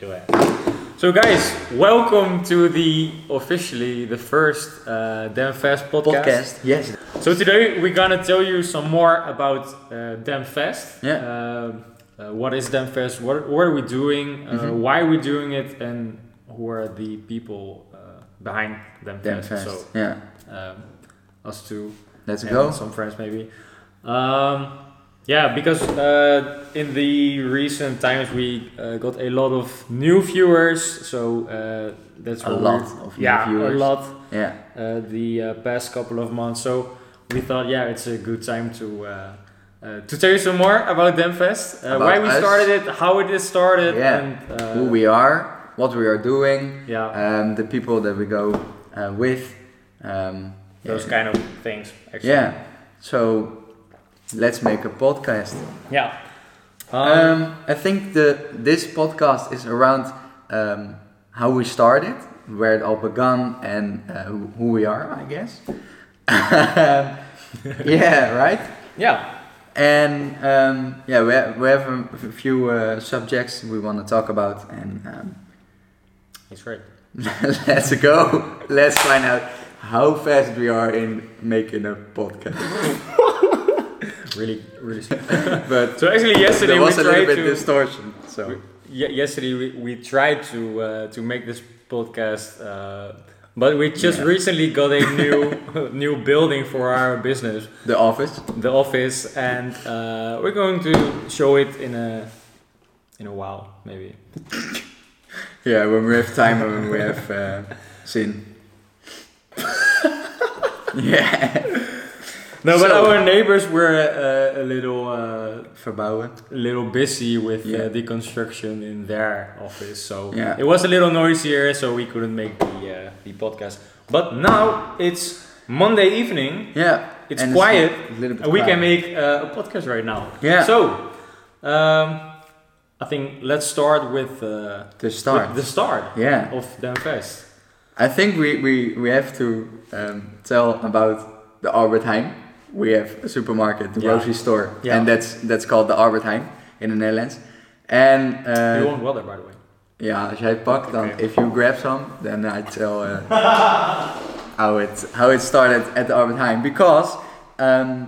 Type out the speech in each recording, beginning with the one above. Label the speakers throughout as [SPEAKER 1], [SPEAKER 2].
[SPEAKER 1] do it. So guys, welcome to the officially the first uh, Damn Fest podcast.
[SPEAKER 2] Podcast. Yes.
[SPEAKER 1] So today we're gonna tell you some more about uh, Damn Fest.
[SPEAKER 2] Yeah.
[SPEAKER 1] Um, uh, what is Damn Fest? What, what are we doing? Uh,
[SPEAKER 2] Mm-hmm.
[SPEAKER 1] Why are we doing it? And who are the people uh, behind Damn
[SPEAKER 2] Damn
[SPEAKER 1] Fest?
[SPEAKER 2] fast. yeah.
[SPEAKER 1] So um, us two
[SPEAKER 2] Let's
[SPEAKER 1] and
[SPEAKER 2] go.
[SPEAKER 1] some friends maybe. Um, yeah, because uh, in the recent times we uh, got a lot of new viewers, so uh, that's
[SPEAKER 2] A
[SPEAKER 1] what
[SPEAKER 2] lot
[SPEAKER 1] we're-
[SPEAKER 2] of new
[SPEAKER 1] yeah,
[SPEAKER 2] viewers.
[SPEAKER 1] a lot
[SPEAKER 2] Yeah.
[SPEAKER 1] uh, the uh, past couple of months. So we thought, yeah, it's a good time to uh, uh, to tell you some more about Demfest, uh,
[SPEAKER 2] About
[SPEAKER 1] why we
[SPEAKER 2] us.
[SPEAKER 1] started it, how it is started,
[SPEAKER 2] Yeah.
[SPEAKER 1] and uh,
[SPEAKER 2] Who we are, what we are doing,
[SPEAKER 1] yeah,
[SPEAKER 2] um, the people that we go uh, with. Um,
[SPEAKER 1] those
[SPEAKER 2] yeah.
[SPEAKER 1] kind of things. Actually.
[SPEAKER 2] Yeah. So let's make a podcast.
[SPEAKER 1] yeah. Um,
[SPEAKER 2] Um, I think the this podcast is around um, how we started, where it all began, and uh, who, who we are, I guess. Um, yeah, right.
[SPEAKER 1] yeah,
[SPEAKER 2] And um, yeah, we have, we have a f- few uh, subjects we want to talk about, and um,
[SPEAKER 1] that's right.
[SPEAKER 2] let's go. Let's find out how fast we are in making a podcast.
[SPEAKER 1] Really, really.
[SPEAKER 2] But
[SPEAKER 1] So actually, yesterday
[SPEAKER 2] there was
[SPEAKER 1] we
[SPEAKER 2] a little
[SPEAKER 1] tried
[SPEAKER 2] bit
[SPEAKER 1] to.
[SPEAKER 2] distortion. So
[SPEAKER 1] Ye- yesterday we, we tried to uh, to make this podcast, uh, but we just
[SPEAKER 2] Yeah.
[SPEAKER 1] recently got a new new building for our business,
[SPEAKER 2] the office.
[SPEAKER 1] the office, and uh, we're going to show it in a in a while maybe.
[SPEAKER 2] Yeah, when we have time and when we have uh, sin. yeah.
[SPEAKER 1] No, but
[SPEAKER 2] So-
[SPEAKER 1] our neighbors were uh, a little uh,
[SPEAKER 2] Verbouwen.
[SPEAKER 1] a little busy with
[SPEAKER 2] Yeah.
[SPEAKER 1] uh, the construction in their office, so
[SPEAKER 2] Yeah.
[SPEAKER 1] it was a little noisier, so we couldn't make the uh, the podcast. But now it's Monday evening.
[SPEAKER 2] Yeah.
[SPEAKER 1] It's
[SPEAKER 2] and
[SPEAKER 1] quiet,
[SPEAKER 2] a little bit
[SPEAKER 1] And we
[SPEAKER 2] quiet.
[SPEAKER 1] can make uh, a podcast right now.
[SPEAKER 2] Yeah.
[SPEAKER 1] So, um, I think let's start with, uh,
[SPEAKER 2] the start.
[SPEAKER 1] with the start
[SPEAKER 2] yeah.
[SPEAKER 1] of Den Fest.
[SPEAKER 2] I think we, we, we have to um, tell about the Albert Heijn. We have a supermarket, the
[SPEAKER 1] Yeah.
[SPEAKER 2] grocery store,
[SPEAKER 1] Yeah.
[SPEAKER 2] and that's that's called the Albert Heijn in the Netherlands. And
[SPEAKER 1] you
[SPEAKER 2] uh,
[SPEAKER 1] want weather, by the way.
[SPEAKER 2] ja, als jij het pakt, dan
[SPEAKER 1] Okay.
[SPEAKER 2] if you grab some, then I tell uh, how it how it started at the Albert Heijn because um,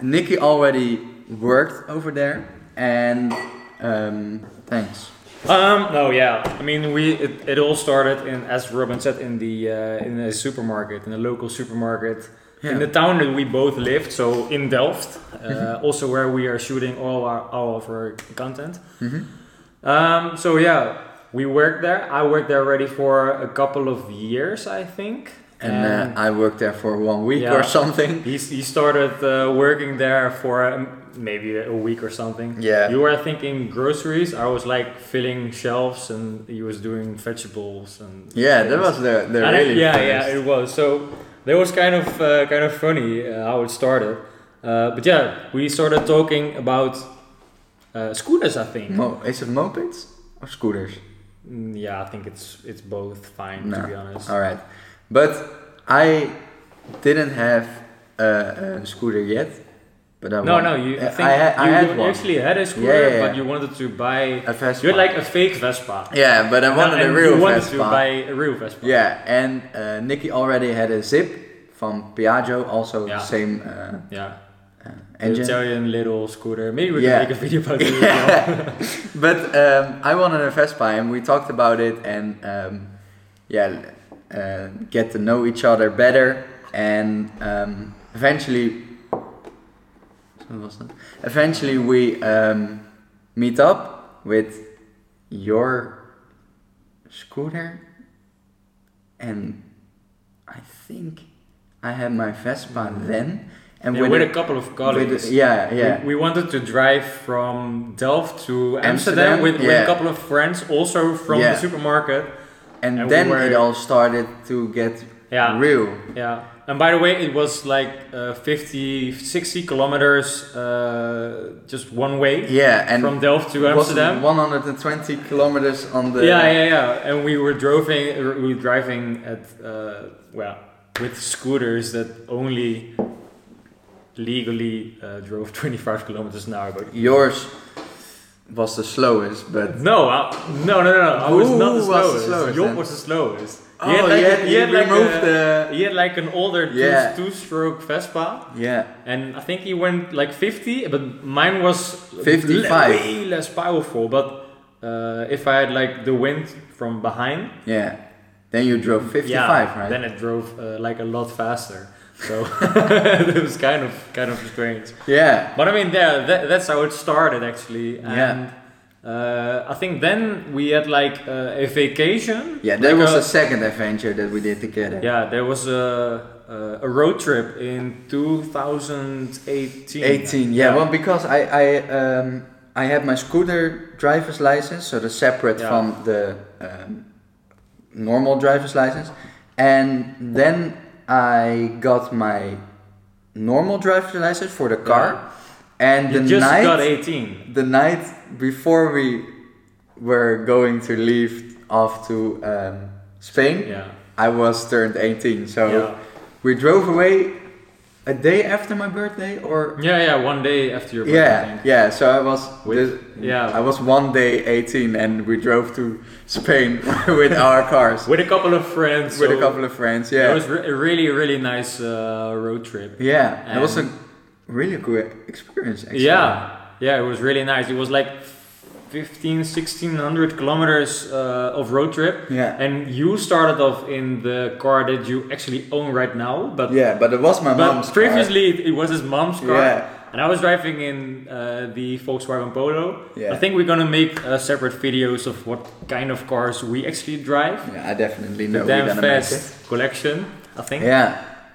[SPEAKER 2] Nikki already worked over there and um, thanks.
[SPEAKER 1] Um, no, yeah. I mean, we it, it all started in, as Robin said, in the uh, in a supermarket, in a local supermarket in the town that we both lived. So in Delft,
[SPEAKER 2] Mm-hmm.
[SPEAKER 1] uh, also where we are shooting all our all of our content.
[SPEAKER 2] Mhm.
[SPEAKER 1] Um, so yeah, we worked there. I worked there already for a couple of years, I think.
[SPEAKER 2] And uh, I worked there for one week
[SPEAKER 1] Yeah.
[SPEAKER 2] or something.
[SPEAKER 1] he, he started uh, working there for um, maybe a week or something.
[SPEAKER 2] Yeah.
[SPEAKER 1] You were thinking groceries. I was like filling shelves, and he was doing vegetables and.
[SPEAKER 2] Yeah, that
[SPEAKER 1] things.
[SPEAKER 2] was the the
[SPEAKER 1] And I-
[SPEAKER 2] really
[SPEAKER 1] yeah,
[SPEAKER 2] first.
[SPEAKER 1] yeah, it was. So that was kind of uh, kind of funny uh, how it started. Uh, but yeah, we started talking about uh, scooters. I think.
[SPEAKER 2] Mo- is it mopeds or scooters?
[SPEAKER 1] Mm, Yeah, I think it's it's both fine
[SPEAKER 2] No.
[SPEAKER 1] to be honest.
[SPEAKER 2] All right, but I didn't have a, a scooter yet. But I
[SPEAKER 1] No,
[SPEAKER 2] want-
[SPEAKER 1] no, you. I
[SPEAKER 2] I,
[SPEAKER 1] think
[SPEAKER 2] I, had- I
[SPEAKER 1] you
[SPEAKER 2] had one.
[SPEAKER 1] actually had a scooter,
[SPEAKER 2] Yeah, yeah, yeah.
[SPEAKER 1] but you wanted to buy.
[SPEAKER 2] a Vespa.
[SPEAKER 1] You had like a fake Vespa.
[SPEAKER 2] yeah, but I
[SPEAKER 1] And-
[SPEAKER 2] wanted
[SPEAKER 1] and
[SPEAKER 2] a real
[SPEAKER 1] you wanted
[SPEAKER 2] Vespa.
[SPEAKER 1] to buy a real Vespa.
[SPEAKER 2] yeah, and uh, Nicky already had a Zip from Piaggio, also
[SPEAKER 1] Yeah.
[SPEAKER 2] same uh,
[SPEAKER 1] Yeah.
[SPEAKER 2] uh,
[SPEAKER 1] An
[SPEAKER 2] engine.
[SPEAKER 1] Italian little scooter. Maybe we
[SPEAKER 2] Yeah.
[SPEAKER 1] can make a video about it. as well.
[SPEAKER 2] Yeah. but um, I wanted a Vespa, and we talked about it, and um, yeah, uh, get to know each other better, and um, eventually, what was that? Eventually, we um, meet up with your scooter, and I think I had my Vespa then, and
[SPEAKER 1] Yeah,
[SPEAKER 2] with,
[SPEAKER 1] with
[SPEAKER 2] a-
[SPEAKER 1] a couple of
[SPEAKER 2] with a-
[SPEAKER 1] colleagues.
[SPEAKER 2] yeah, yeah.
[SPEAKER 1] We, we wanted to drive from Delft to Amsterdam,
[SPEAKER 2] Amsterdam?
[SPEAKER 1] with, with a
[SPEAKER 2] Yeah.
[SPEAKER 1] couple of friends, also from
[SPEAKER 2] Yeah.
[SPEAKER 1] the supermarket.
[SPEAKER 2] and,
[SPEAKER 1] And we
[SPEAKER 2] then
[SPEAKER 1] were-
[SPEAKER 2] it all started to get
[SPEAKER 1] Yeah.
[SPEAKER 2] real.
[SPEAKER 1] Yeah. And by the way, it was like uh, 50, 60 kilometers uh, just one way
[SPEAKER 2] Yeah, and
[SPEAKER 1] from Delft to
[SPEAKER 2] it was
[SPEAKER 1] Amsterdam.
[SPEAKER 2] 120 kilometers on the
[SPEAKER 1] yeah, yeah, yeah. And we were driving, we were driving at, uh, well, with scooters that only legally uh, drove 25 kilometers an hour. But
[SPEAKER 2] yours was the slowest, but
[SPEAKER 1] No, I, no, no, no, no. I was
[SPEAKER 2] Who
[SPEAKER 1] not the
[SPEAKER 2] was the
[SPEAKER 1] slowest.
[SPEAKER 2] slowest
[SPEAKER 1] Job
[SPEAKER 2] then?
[SPEAKER 1] was the slowest.
[SPEAKER 2] oh, yeah,
[SPEAKER 1] like,
[SPEAKER 2] you,
[SPEAKER 1] a- he had like
[SPEAKER 2] removed
[SPEAKER 1] a-
[SPEAKER 2] the
[SPEAKER 1] He had like an older two-
[SPEAKER 2] Yeah.
[SPEAKER 1] two-stroke Vespa,
[SPEAKER 2] yeah.
[SPEAKER 1] and I think he went like 50, but mine was
[SPEAKER 2] 55.
[SPEAKER 1] le- way less powerful. But uh, if I had like the wind from behind,
[SPEAKER 2] Yeah. Then you drove 55,
[SPEAKER 1] yeah,
[SPEAKER 2] right?
[SPEAKER 1] then it drove uh, like a lot faster. So it was kind of kind of strange.
[SPEAKER 2] yeah.
[SPEAKER 1] But I mean, yeah, that, that's how it started actually.
[SPEAKER 2] Yeah.
[SPEAKER 1] And uh, I think then we had like uh, a vacation.
[SPEAKER 2] Yeah, that
[SPEAKER 1] Like
[SPEAKER 2] was
[SPEAKER 1] a-
[SPEAKER 2] the second adventure that we did together.
[SPEAKER 1] Yeah, there was a, a a road trip in 2018.
[SPEAKER 2] 18, yeah. Well, because I I um, I had my scooter driver's license, so that's separate
[SPEAKER 1] Yeah.
[SPEAKER 2] from the um, normal driver's license, and then I got my normal driver's license for the car, and
[SPEAKER 1] you
[SPEAKER 2] the
[SPEAKER 1] just
[SPEAKER 2] night
[SPEAKER 1] got 18.
[SPEAKER 2] the night before we were going to leave off to um, Spain,
[SPEAKER 1] Yeah.
[SPEAKER 2] I was turned 18, so.
[SPEAKER 1] Yeah.
[SPEAKER 2] We drove away a day after my birthday, or
[SPEAKER 1] yeah, yeah, one day after your birthday. I
[SPEAKER 2] yeah,
[SPEAKER 1] think.
[SPEAKER 2] yeah. So I was
[SPEAKER 1] With-
[SPEAKER 2] this-
[SPEAKER 1] yeah.
[SPEAKER 2] I was one day 18, and we drove to Spain with our cars
[SPEAKER 1] With a couple of friends.
[SPEAKER 2] with a
[SPEAKER 1] so
[SPEAKER 2] couple of friends.
[SPEAKER 1] It
[SPEAKER 2] Yeah,
[SPEAKER 1] was re- a really, really nice uh, road trip.
[SPEAKER 2] yeah. It was a
[SPEAKER 1] And-
[SPEAKER 2] really good experience. Actually.
[SPEAKER 1] Yeah, yeah, it was really nice. It was like 15, 1600 kilometers uh, of road trip.
[SPEAKER 2] yeah,
[SPEAKER 1] And you started off in the car that you actually own right now, but,
[SPEAKER 2] yeah. But it was my mom's
[SPEAKER 1] but
[SPEAKER 2] car.
[SPEAKER 1] previously it- it was his mom's car.
[SPEAKER 2] Yeah,
[SPEAKER 1] And I was driving in uh, the Volkswagen Polo.
[SPEAKER 2] Yeah.
[SPEAKER 1] I think we're gonna make uh, separate videos of what kind of cars we actually drive.
[SPEAKER 2] yeah. I definitely
[SPEAKER 1] The
[SPEAKER 2] know we're
[SPEAKER 1] damn
[SPEAKER 2] gonna make it.
[SPEAKER 1] fast collection, I think.
[SPEAKER 2] Yeah,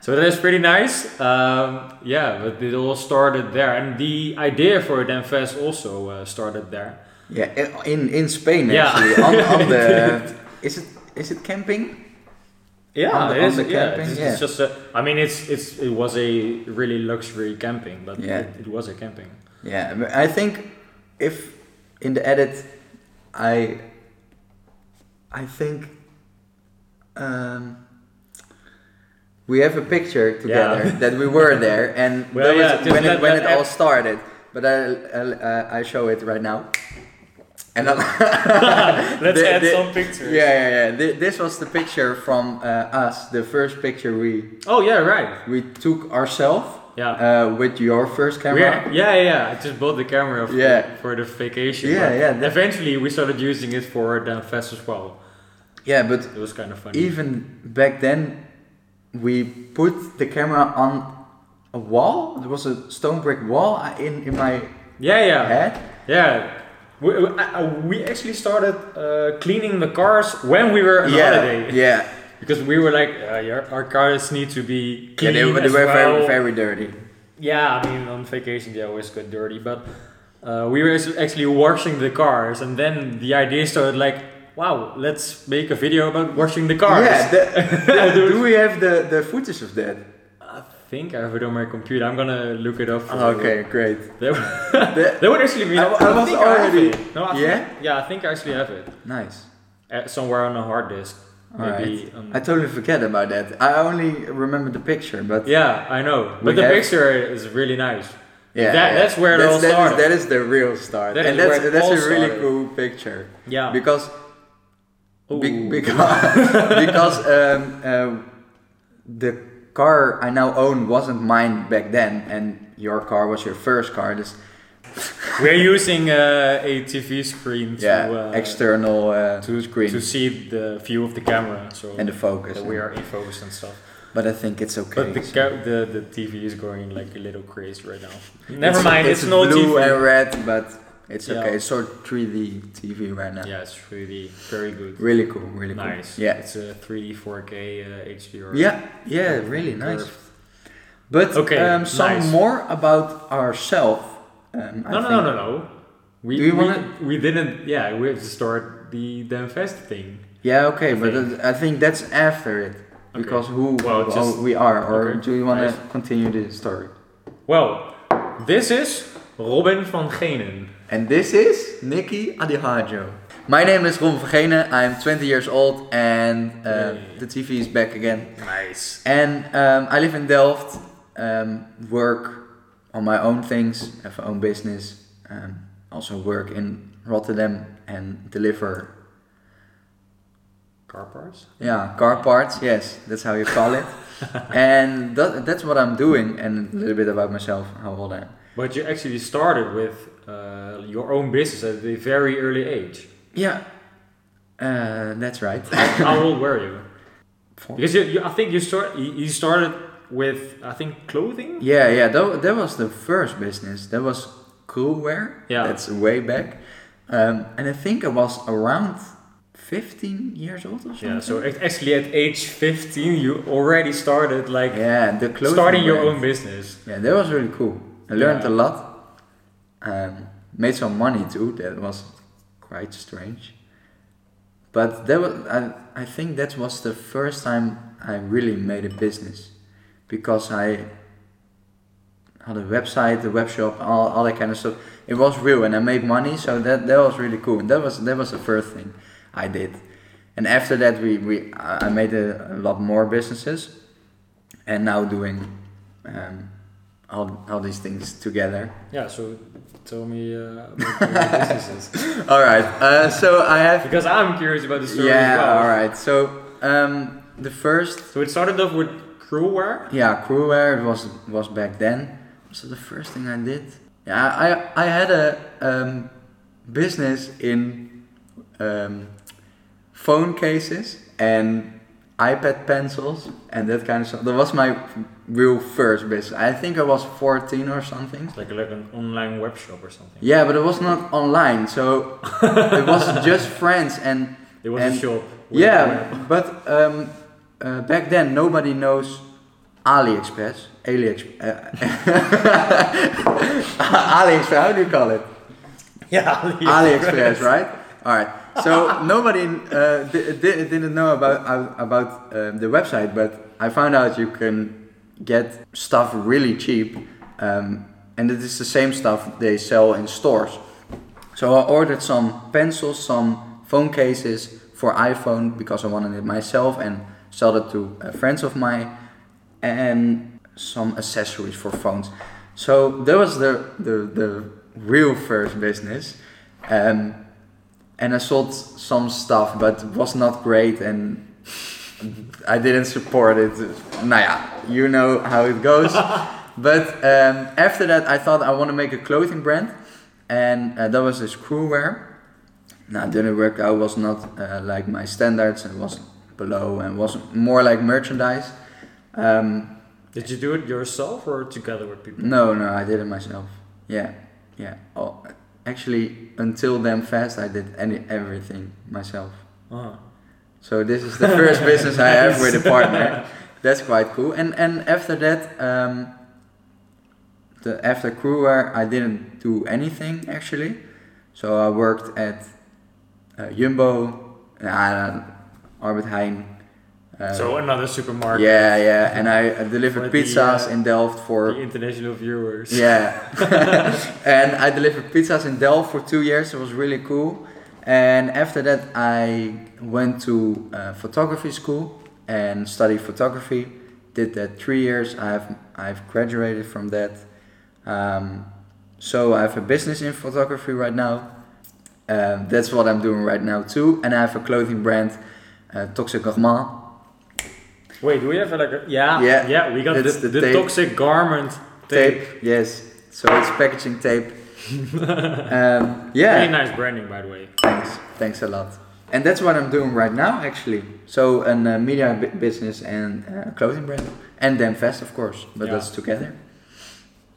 [SPEAKER 1] So that is pretty nice. Um, yeah, but it all started there, and the idea for Damn Fest also uh, started there.
[SPEAKER 2] yeah. i- In in Spain
[SPEAKER 1] Yeah.
[SPEAKER 2] actually. On, on the is it is it camping?
[SPEAKER 1] Yeah,
[SPEAKER 2] On the-
[SPEAKER 1] it
[SPEAKER 2] on
[SPEAKER 1] is-
[SPEAKER 2] the
[SPEAKER 1] yeah,
[SPEAKER 2] camping,
[SPEAKER 1] it's,
[SPEAKER 2] yeah.
[SPEAKER 1] it's just a, I mean, it's it's it was a really luxury camping, but
[SPEAKER 2] Yeah.
[SPEAKER 1] it, it was a camping.
[SPEAKER 2] Yeah, but I think if in the edit, I, I think, um, we have a picture together that we were there and
[SPEAKER 1] Well,
[SPEAKER 2] that was
[SPEAKER 1] yeah, just
[SPEAKER 2] when it
[SPEAKER 1] let
[SPEAKER 2] when
[SPEAKER 1] that
[SPEAKER 2] it all
[SPEAKER 1] app-
[SPEAKER 2] started. But I uh, I show it right now, and then
[SPEAKER 1] Let's
[SPEAKER 2] The-
[SPEAKER 1] add
[SPEAKER 2] the-
[SPEAKER 1] some
[SPEAKER 2] yeah
[SPEAKER 1] pictures.
[SPEAKER 2] yeah yeah. Thi- This was the picture from uh, us, the first picture we
[SPEAKER 1] Oh yeah, right.
[SPEAKER 2] we took ourselves
[SPEAKER 1] Yeah.
[SPEAKER 2] uh, with your first
[SPEAKER 1] We
[SPEAKER 2] camera.
[SPEAKER 1] are- yeah, yeah, yeah. I just bought the camera for,
[SPEAKER 2] Yeah.
[SPEAKER 1] for the vacation.
[SPEAKER 2] Yeah,
[SPEAKER 1] but
[SPEAKER 2] yeah, that-
[SPEAKER 1] Eventually, we started using it for Damn Fest as well.
[SPEAKER 2] Yeah, but
[SPEAKER 1] It was kind of funny.
[SPEAKER 2] even back then we put the camera on a wall there was a stone brick wall I- in in my
[SPEAKER 1] yeah, yeah.
[SPEAKER 2] head
[SPEAKER 1] Yeah. We, we- I- I- we actually started uh, cleaning the cars when we were on holiday
[SPEAKER 2] yeah
[SPEAKER 1] because we were like, uh, yeah, our cars need to be
[SPEAKER 2] yeah
[SPEAKER 1] clean
[SPEAKER 2] they, were- they
[SPEAKER 1] as
[SPEAKER 2] were
[SPEAKER 1] well.
[SPEAKER 2] very very dirty
[SPEAKER 1] Yeah, I mean on vacation they always get dirty, but uh, we were actu- actually washing the cars, and then the idea started like, wow, let's make a video about washing the cars.
[SPEAKER 2] yeah the- do we have the the footage of that
[SPEAKER 1] I think I have it on my computer. I'm gonna look it up. For you.
[SPEAKER 2] okay great
[SPEAKER 1] That would,
[SPEAKER 2] The-
[SPEAKER 1] that would actually be.
[SPEAKER 2] I wa- I was
[SPEAKER 1] think have
[SPEAKER 2] already-
[SPEAKER 1] it. No, I
[SPEAKER 2] Yeah?
[SPEAKER 1] Think, yeah, I think I actually have it.
[SPEAKER 2] nice
[SPEAKER 1] Uh, somewhere on a hard disk. Maybe um,
[SPEAKER 2] Alright.
[SPEAKER 1] on,
[SPEAKER 2] i totally forget about that i only remember the picture but
[SPEAKER 1] yeah, I know.
[SPEAKER 2] We
[SPEAKER 1] But the
[SPEAKER 2] have-
[SPEAKER 1] picture is really nice.
[SPEAKER 2] yeah,
[SPEAKER 1] that-
[SPEAKER 2] yeah.
[SPEAKER 1] that's where it all
[SPEAKER 2] that is-
[SPEAKER 1] started.
[SPEAKER 2] that is the real start
[SPEAKER 1] That
[SPEAKER 2] and
[SPEAKER 1] is where
[SPEAKER 2] that's
[SPEAKER 1] it
[SPEAKER 2] that's
[SPEAKER 1] all
[SPEAKER 2] a really
[SPEAKER 1] started.
[SPEAKER 2] cool picture
[SPEAKER 1] Yeah.
[SPEAKER 2] because Be-
[SPEAKER 1] Ooh.
[SPEAKER 2] because because um, um, the car I now own wasn't mine back then, and your car was your first car. This
[SPEAKER 1] We're using uh, a TV screen to,
[SPEAKER 2] yeah,
[SPEAKER 1] uh,
[SPEAKER 2] external uh,
[SPEAKER 1] to,
[SPEAKER 2] screen
[SPEAKER 1] to see the view of the camera. So
[SPEAKER 2] and the focus.
[SPEAKER 1] that we are in focus and stuff.
[SPEAKER 2] But I think it's okay.
[SPEAKER 1] But the,
[SPEAKER 2] so-
[SPEAKER 1] ca- the the TV is going like a little crazy right now. Never
[SPEAKER 2] It's-
[SPEAKER 1] mind, it's, no
[SPEAKER 2] blue
[SPEAKER 1] TV.
[SPEAKER 2] and red, but it's
[SPEAKER 1] Yeah.
[SPEAKER 2] okay. It's sort of 3D TV right now.
[SPEAKER 1] Yeah, it's 3D, very good,
[SPEAKER 2] Really cool, really cool.
[SPEAKER 1] nice.
[SPEAKER 2] Yeah,
[SPEAKER 1] it's a 3D 4K uh, HDR.
[SPEAKER 2] yeah, yeah, really nice.
[SPEAKER 1] curved.
[SPEAKER 2] But
[SPEAKER 1] Okay,
[SPEAKER 2] um, some
[SPEAKER 1] nice.
[SPEAKER 2] more about ourselves. Um, I
[SPEAKER 1] No, no,
[SPEAKER 2] think.
[SPEAKER 1] no, no, no. We
[SPEAKER 2] Do you
[SPEAKER 1] we,
[SPEAKER 2] wanna-
[SPEAKER 1] we didn't. Yeah, we have to start the damn fest thing.
[SPEAKER 2] Yeah, okay, but
[SPEAKER 1] think.
[SPEAKER 2] that- I think that's after it.
[SPEAKER 1] Okay.
[SPEAKER 2] Because who
[SPEAKER 1] Well,
[SPEAKER 2] who
[SPEAKER 1] just-
[SPEAKER 2] we are, or
[SPEAKER 1] okay,
[SPEAKER 2] do you want
[SPEAKER 1] nice.
[SPEAKER 2] to continue the story?
[SPEAKER 1] Well, this is Robin van Genen.
[SPEAKER 2] And this is Nikki Adihajo. My name is Ron Vergenen, I'm 20 years old, and uh,
[SPEAKER 1] Yay.
[SPEAKER 2] the TV is back again.
[SPEAKER 1] Nice.
[SPEAKER 2] And um, I live in Delft, um, work on my own things, have my own business. Um, also work in Rotterdam and deliver
[SPEAKER 1] Car parts?
[SPEAKER 2] yeah car parts. Yes, that's how you call it. and that, that's what I'm doing, and a little bit about myself, how old I am.
[SPEAKER 1] But you actually started with uh, your own business at a very early age.
[SPEAKER 2] Yeah, uh, that's right.
[SPEAKER 1] How old were you?
[SPEAKER 2] Four-
[SPEAKER 1] Because you, you, I think you start you you started with I think clothing.
[SPEAKER 2] Yeah, yeah, that, that was the first business. That was cool wear.
[SPEAKER 1] Yeah.
[SPEAKER 2] That's way back. Um, and I think I was around 15 years old or something.
[SPEAKER 1] Yeah. So act- actually, at age 15, you already started like
[SPEAKER 2] yeah, the clothing
[SPEAKER 1] starting your
[SPEAKER 2] brand.
[SPEAKER 1] own business.
[SPEAKER 2] Yeah, that was really cool. I learned
[SPEAKER 1] Yeah.
[SPEAKER 2] a lot. Um, made some money too. That was quite strange. But that was, I, I think that was the first time I really made a business because I had a website, a web shop, all, all that kind of stuff. It was real and I made money, so that, that was really cool. And that was that was the first thing I did. And after that, we, we I I made a, a lot more businesses, and now doing um, all, all these things together.
[SPEAKER 1] Yeah. So tell me uh, about your businesses
[SPEAKER 2] All right. Uh, so I have.
[SPEAKER 1] because I'm curious about the story as
[SPEAKER 2] Yeah.
[SPEAKER 1] well.
[SPEAKER 2] All right. So um, the first.
[SPEAKER 1] So it started off with crew wear.
[SPEAKER 2] Yeah, crewware it was was back then. So the first thing I did. Yeah, I I had a um, business in um, phone cases and iPad pencils and that kind of stuff. That was my real first business. I think I was 14 or something.
[SPEAKER 1] It's like like an online web shop or something.
[SPEAKER 2] Yeah, but it was not online, so it was just friends and
[SPEAKER 1] It was a
[SPEAKER 2] And-
[SPEAKER 1] shop. with web.
[SPEAKER 2] yeah. But um, uh, back then nobody knows AliExpress, AliExpress, uh, AliExpress. How do you call it?
[SPEAKER 1] Yeah.
[SPEAKER 2] AliExpress, right? All right. So nobody uh, di- di- didn't know about uh, about um, the website, but I found out you can get stuff really cheap, um, and it is the same stuff they sell in stores. So I ordered some pencils, some phone cases for iPhone because I wanted it myself and sold it to uh, friends of mine, and some accessories for phones. So that was the the, the real first business. Um, and I sold some stuff, but it was not great, and I didn't support it. Nou ja, you know how it goes. but um, after that, I thought I want to make a clothing brand, and uh, that was this crewware. Now, it didn't work out. Was not uh, like my standards. It was below, and was more like merchandise. Um,
[SPEAKER 1] Did you do it yourself or together with people?
[SPEAKER 2] no, no, I did it myself. Yeah, yeah. Oh, actually, until then fast, I did any everything myself.
[SPEAKER 1] Uh-huh.
[SPEAKER 2] So this is the first business I have with a partner. That's quite cool. And and after that, um, the after crewware, I didn't do anything actually. So I worked at uh, Jumbo, uh, Albert Heijn. uh,
[SPEAKER 1] so another supermarket.
[SPEAKER 2] yeah, yeah. And I uh, delivered
[SPEAKER 1] For the,
[SPEAKER 2] pizzas
[SPEAKER 1] uh,
[SPEAKER 2] in Delft for
[SPEAKER 1] The international viewers.
[SPEAKER 2] yeah. and I delivered pizzas in Delft for two years. It was really cool. And after that, I went to uh, photography school and studied photography. Did that three years. I've I've graduated from that. Um, so I have a business in photography right now. Um, that's what I'm doing right now too. And I have a clothing brand, uh, Toxic Gourmand.
[SPEAKER 1] Wait, do we have like a yeah
[SPEAKER 2] Yeah,
[SPEAKER 1] yeah we got the,
[SPEAKER 2] it's
[SPEAKER 1] the,
[SPEAKER 2] the tape.
[SPEAKER 1] toxic garment tape.
[SPEAKER 2] Tape. Yes. So it's packaging tape. um, yeah.
[SPEAKER 1] Really nice branding by the way.
[SPEAKER 2] Thanks, thanks a lot. And that's what I'm doing right now, actually. So, an uh, media bu- business and uh, clothing brand, and then Fest, of course, but
[SPEAKER 1] Yeah.
[SPEAKER 2] that's together.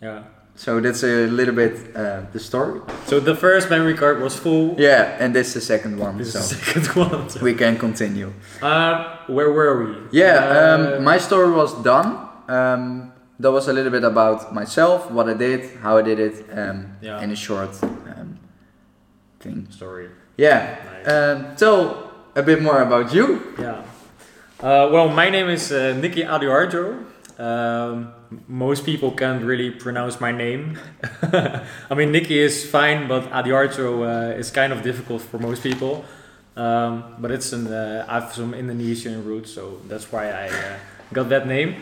[SPEAKER 1] Yeah.
[SPEAKER 2] So that's a little bit uh, the story.
[SPEAKER 1] So the first memory card was full.
[SPEAKER 2] Yeah, and this is the second one,
[SPEAKER 1] This
[SPEAKER 2] so
[SPEAKER 1] is the second one.
[SPEAKER 2] we can continue.
[SPEAKER 1] Uh, where were we?
[SPEAKER 2] Yeah,
[SPEAKER 1] Uh,
[SPEAKER 2] um, my story was done. Um, that was a little bit about myself, what I did, how I did it, um,
[SPEAKER 1] Yeah.
[SPEAKER 2] and a short um, thing.
[SPEAKER 1] story.
[SPEAKER 2] Yeah,
[SPEAKER 1] Nice.
[SPEAKER 2] um, tell a bit more about you.
[SPEAKER 1] Yeah. Uh, well, my name is uh, Nicky Aduardo. Um, most people can't really pronounce my name. I mean, Nicky is fine, but Aduardo uh, is kind of difficult for most people. Um, but it's an uh, I have some Indonesian roots, so that's why I uh, got that name.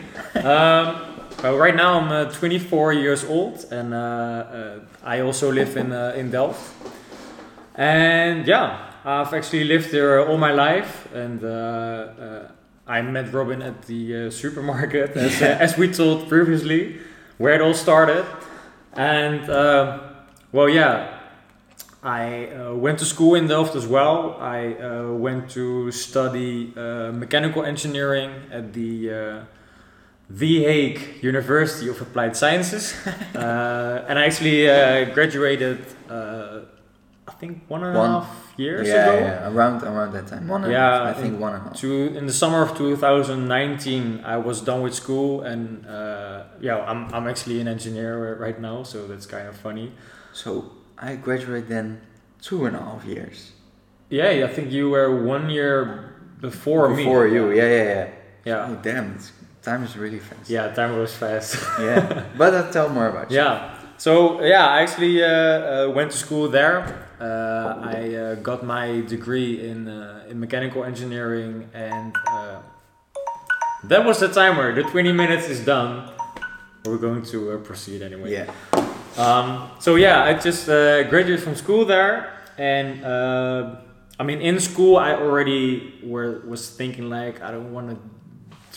[SPEAKER 1] Um, Well, right now I'm uh, 24 years old, and uh, uh, I also live in uh, in Delft. And yeah, I've actually lived there all my life, and uh, uh, I met Robin at the uh, supermarket, as, uh, as we told previously, where it all started. And uh, well, yeah, I uh, went to school in Delft as well. I uh, went to study uh, mechanical engineering at the uh, The Hague University of Applied Sciences, uh, and I actually uh, graduated. Uh, I think one and a half
[SPEAKER 2] One-
[SPEAKER 1] years
[SPEAKER 2] yeah,
[SPEAKER 1] ago.
[SPEAKER 2] yeah, around around that time. One and a
[SPEAKER 1] Yeah,
[SPEAKER 2] half, I think
[SPEAKER 1] in-
[SPEAKER 2] one and a half.
[SPEAKER 1] To in the summer of 2019, I was done with school, and uh, yeah, I'm I'm actually an engineer right now, so that's kind of funny.
[SPEAKER 2] So I graduated then two and a half years
[SPEAKER 1] Yeah, I think you were one year before, me.
[SPEAKER 2] before you. Yeah, yeah, yeah.
[SPEAKER 1] Yeah.
[SPEAKER 2] Oh, damn, it's, time is really fast.
[SPEAKER 1] Yeah, time goes fast.
[SPEAKER 2] yeah. But I'll tell more about you.
[SPEAKER 1] yeah. So yeah, I actually uh, uh, went to school there. Uh, I uh, got my degree in uh, in mechanical engineering, and uh, that was the timer. The 20 minutes is done. We're going to uh, proceed anyway.
[SPEAKER 2] Yeah.
[SPEAKER 1] Um, so yeah, I just uh, graduated from school there, and uh, I mean, in school, I already were was thinking like I don't want to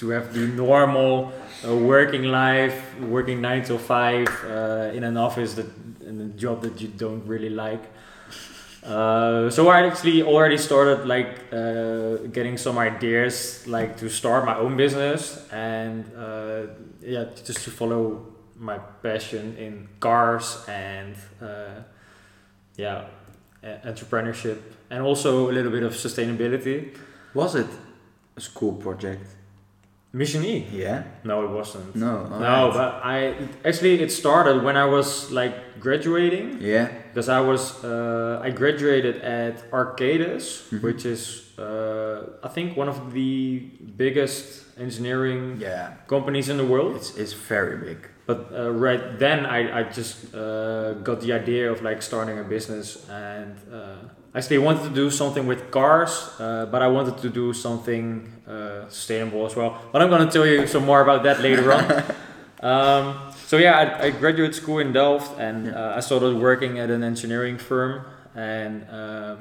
[SPEAKER 1] to have the normal uh, working life, working nine till five uh, in an office that in a job that you don't really like. Uh, so I actually already started like uh, getting some ideas like to start my own business and uh, yeah just to follow my passion in cars and uh, yeah e- entrepreneurship and also a little bit of sustainability
[SPEAKER 2] Was it a school project?
[SPEAKER 1] mission e
[SPEAKER 2] Yeah.
[SPEAKER 1] no it wasn't
[SPEAKER 2] No.
[SPEAKER 1] no
[SPEAKER 2] alright.
[SPEAKER 1] but i actually it started when i was like graduating
[SPEAKER 2] Yeah.
[SPEAKER 1] because I was uh, I graduated at Arcadis,
[SPEAKER 2] Mhm.
[SPEAKER 1] which is uh, I think one of the biggest engineering
[SPEAKER 2] Yeah.
[SPEAKER 1] companies in the world.
[SPEAKER 2] It's it's very big.
[SPEAKER 1] But uh, right then I, I just uh, got the idea of like starting a business and uh, actually I wanted to do something with cars, uh, but I wanted to do something uh, sustainable as well. But I'm gonna tell you some more about that later on. Um, so yeah, I, I graduated school in Delft and
[SPEAKER 2] Yeah.
[SPEAKER 1] uh, I started working at an engineering firm. And um,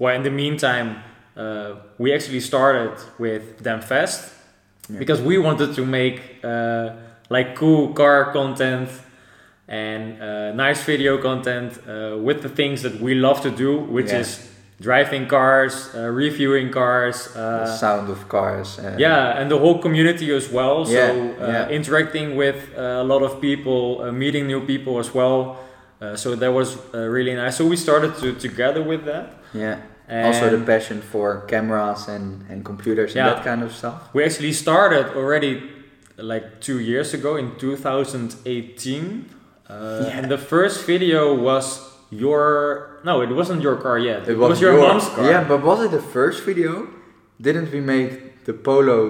[SPEAKER 1] well, in the meantime, uh, we actually started with Damfest
[SPEAKER 2] Yeah.
[SPEAKER 1] because we wanted to make uh, like cool car content and uh, nice video content uh, with the things that we love to do, which
[SPEAKER 2] Yeah.
[SPEAKER 1] is driving cars, uh, reviewing cars,
[SPEAKER 2] the
[SPEAKER 1] uh,
[SPEAKER 2] sound of cars. Uh,
[SPEAKER 1] yeah, and the whole community as well. So
[SPEAKER 2] Yeah,
[SPEAKER 1] uh,
[SPEAKER 2] yeah.
[SPEAKER 1] interacting with uh, a lot of people, uh, meeting new people as well. Uh, so that was uh, really nice. So we started to together with that.
[SPEAKER 2] Yeah.
[SPEAKER 1] And
[SPEAKER 2] also the passion for cameras and, and computers
[SPEAKER 1] Yeah.
[SPEAKER 2] and that kind of stuff.
[SPEAKER 1] we actually started already like two years ago in 2018. Uh,
[SPEAKER 2] Yeah.
[SPEAKER 1] And the first video was your no, it wasn't your car yet. It, was, your, mom's car.
[SPEAKER 2] Yeah, but was it the first video? Didn't we make the polo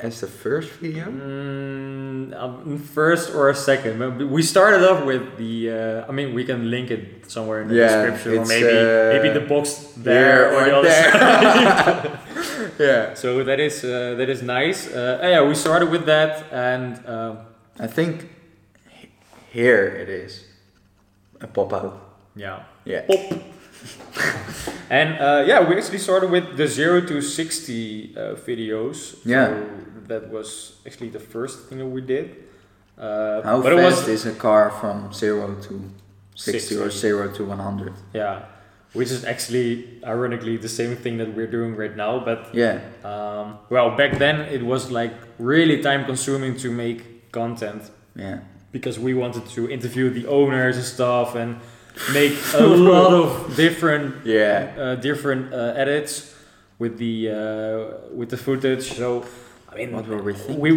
[SPEAKER 2] as the first video?
[SPEAKER 1] Mm, um, first or second? But We started off with the. Uh, I mean, we can link it somewhere in the
[SPEAKER 2] Yeah,
[SPEAKER 1] description, or
[SPEAKER 2] it's,
[SPEAKER 1] maybe
[SPEAKER 2] uh,
[SPEAKER 1] maybe the box there or, the other side.
[SPEAKER 2] yeah.
[SPEAKER 1] so that is uh, that is nice. Uh, yeah, we started with that, and um
[SPEAKER 2] I think he- here it is. A pop out.
[SPEAKER 1] yeah,
[SPEAKER 2] Yeah.
[SPEAKER 1] and uh, yeah, we actually started with the zero to sixty uh, videos.
[SPEAKER 2] Yeah.
[SPEAKER 1] So that was actually the first thing that we did. Uh,
[SPEAKER 2] How
[SPEAKER 1] but it was
[SPEAKER 2] fast is a car from 0 to 60, or
[SPEAKER 1] 60?
[SPEAKER 2] 0 to 100?
[SPEAKER 1] Yeah, which is actually ironically the same thing that we're doing right now. But
[SPEAKER 2] Yeah.
[SPEAKER 1] um, well, back then it was like really time consuming to make content
[SPEAKER 2] Yeah.
[SPEAKER 1] because we wanted to interview the owners and stuff and make a lot of different
[SPEAKER 2] Yeah.
[SPEAKER 1] uh, different uh, edits with the uh, with the footage. So I mean,
[SPEAKER 2] What were we thinking?
[SPEAKER 1] we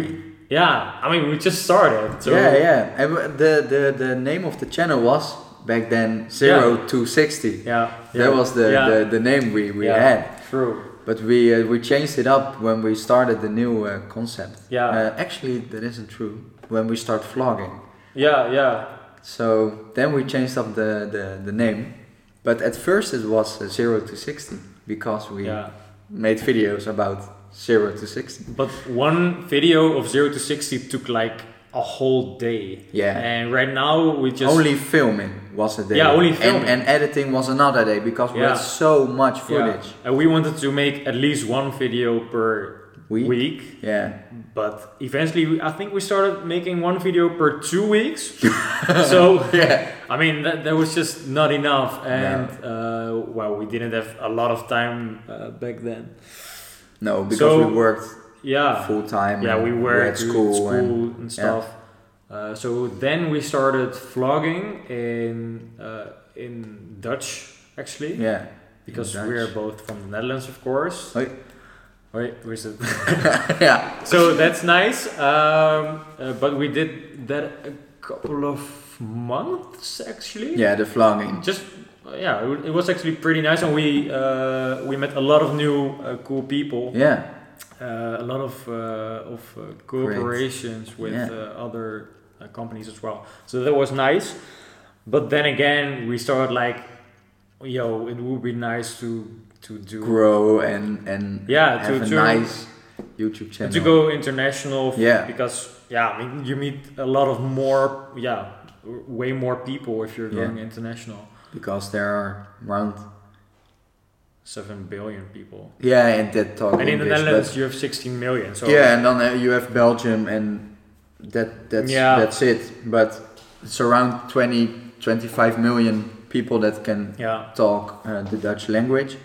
[SPEAKER 1] yeah, I mean we just started. So
[SPEAKER 2] yeah, yeah. And w- the, the the name of the channel was back then 0 to 60.
[SPEAKER 1] yeah, yeah.
[SPEAKER 2] That was the,
[SPEAKER 1] Yeah.
[SPEAKER 2] the, the name we, we
[SPEAKER 1] Yeah.
[SPEAKER 2] had.
[SPEAKER 1] true.
[SPEAKER 2] But we uh, we changed it up when we started the new uh, concept.
[SPEAKER 1] Yeah.
[SPEAKER 2] Uh, actually, that isn't true. When we start vlogging,
[SPEAKER 1] Yeah, yeah.
[SPEAKER 2] so then we changed up the, the, the name. But at first it was uh, zero to sixty because we
[SPEAKER 1] yeah.
[SPEAKER 2] made videos about zero to sixty.
[SPEAKER 1] But one video of 0 to 60 took like a whole day.
[SPEAKER 2] Yeah.
[SPEAKER 1] And right now we just
[SPEAKER 2] only filming was a day.
[SPEAKER 1] Yeah, only
[SPEAKER 2] And-
[SPEAKER 1] filming.
[SPEAKER 2] And, editing was another day because we
[SPEAKER 1] Yeah.
[SPEAKER 2] had so much
[SPEAKER 1] Yeah.
[SPEAKER 2] footage.
[SPEAKER 1] And we wanted to make at least one video per
[SPEAKER 2] Week.
[SPEAKER 1] week.
[SPEAKER 2] Yeah.
[SPEAKER 1] But eventually, we, I think we started making one video per two weeks. so,
[SPEAKER 2] Yeah.
[SPEAKER 1] I mean, that, that was just not enough. And, uh, well, we didn't have a lot of time uh, back then.
[SPEAKER 2] No, because
[SPEAKER 1] So-
[SPEAKER 2] we worked
[SPEAKER 1] Yeah.
[SPEAKER 2] full time.
[SPEAKER 1] yeah,
[SPEAKER 2] and
[SPEAKER 1] we were
[SPEAKER 2] were
[SPEAKER 1] at school, school and, stuff. Uh, so then we started vlogging in uh, in Dutch actually,
[SPEAKER 2] Yeah. yeah.
[SPEAKER 1] because
[SPEAKER 2] In Dutch.
[SPEAKER 1] we're both from the Netherlands, of course.
[SPEAKER 2] Hoi.
[SPEAKER 1] Hoi, hoe is het?
[SPEAKER 2] yeah.
[SPEAKER 1] so that's nice. Um, uh, but we did that a couple of months actually.
[SPEAKER 2] Yeah, the vlogging.
[SPEAKER 1] Just uh, yeah, it wa- it was actually pretty nice, and we uh, we met a lot of new uh, cool people.
[SPEAKER 2] Yeah.
[SPEAKER 1] Uh, a lot of uh, of uh, cooperations with
[SPEAKER 2] Yeah.
[SPEAKER 1] uh, other uh, companies as well. So that was nice. But then again, we started like, yo, it would be nice to to do
[SPEAKER 2] Grow and and
[SPEAKER 1] yeah
[SPEAKER 2] have
[SPEAKER 1] to
[SPEAKER 2] a
[SPEAKER 1] to,
[SPEAKER 2] nice YouTube channel.
[SPEAKER 1] to go international. f-
[SPEAKER 2] Yeah.
[SPEAKER 1] because yeah, I mean you meet a lot of more yeah w- way more people if you're
[SPEAKER 2] Yeah.
[SPEAKER 1] going international.
[SPEAKER 2] Because there are around
[SPEAKER 1] Seven billion people,
[SPEAKER 2] yeah, and that
[SPEAKER 1] and
[SPEAKER 2] talk
[SPEAKER 1] in the
[SPEAKER 2] English, but-
[SPEAKER 1] Netherlands you have 16 million. So
[SPEAKER 2] yeah, and then uh, you have Belgium, and that that's
[SPEAKER 1] Yeah.
[SPEAKER 2] that's it. But it's around 20, 25 million people that can
[SPEAKER 1] yeah,
[SPEAKER 2] talk uh, the Dutch language.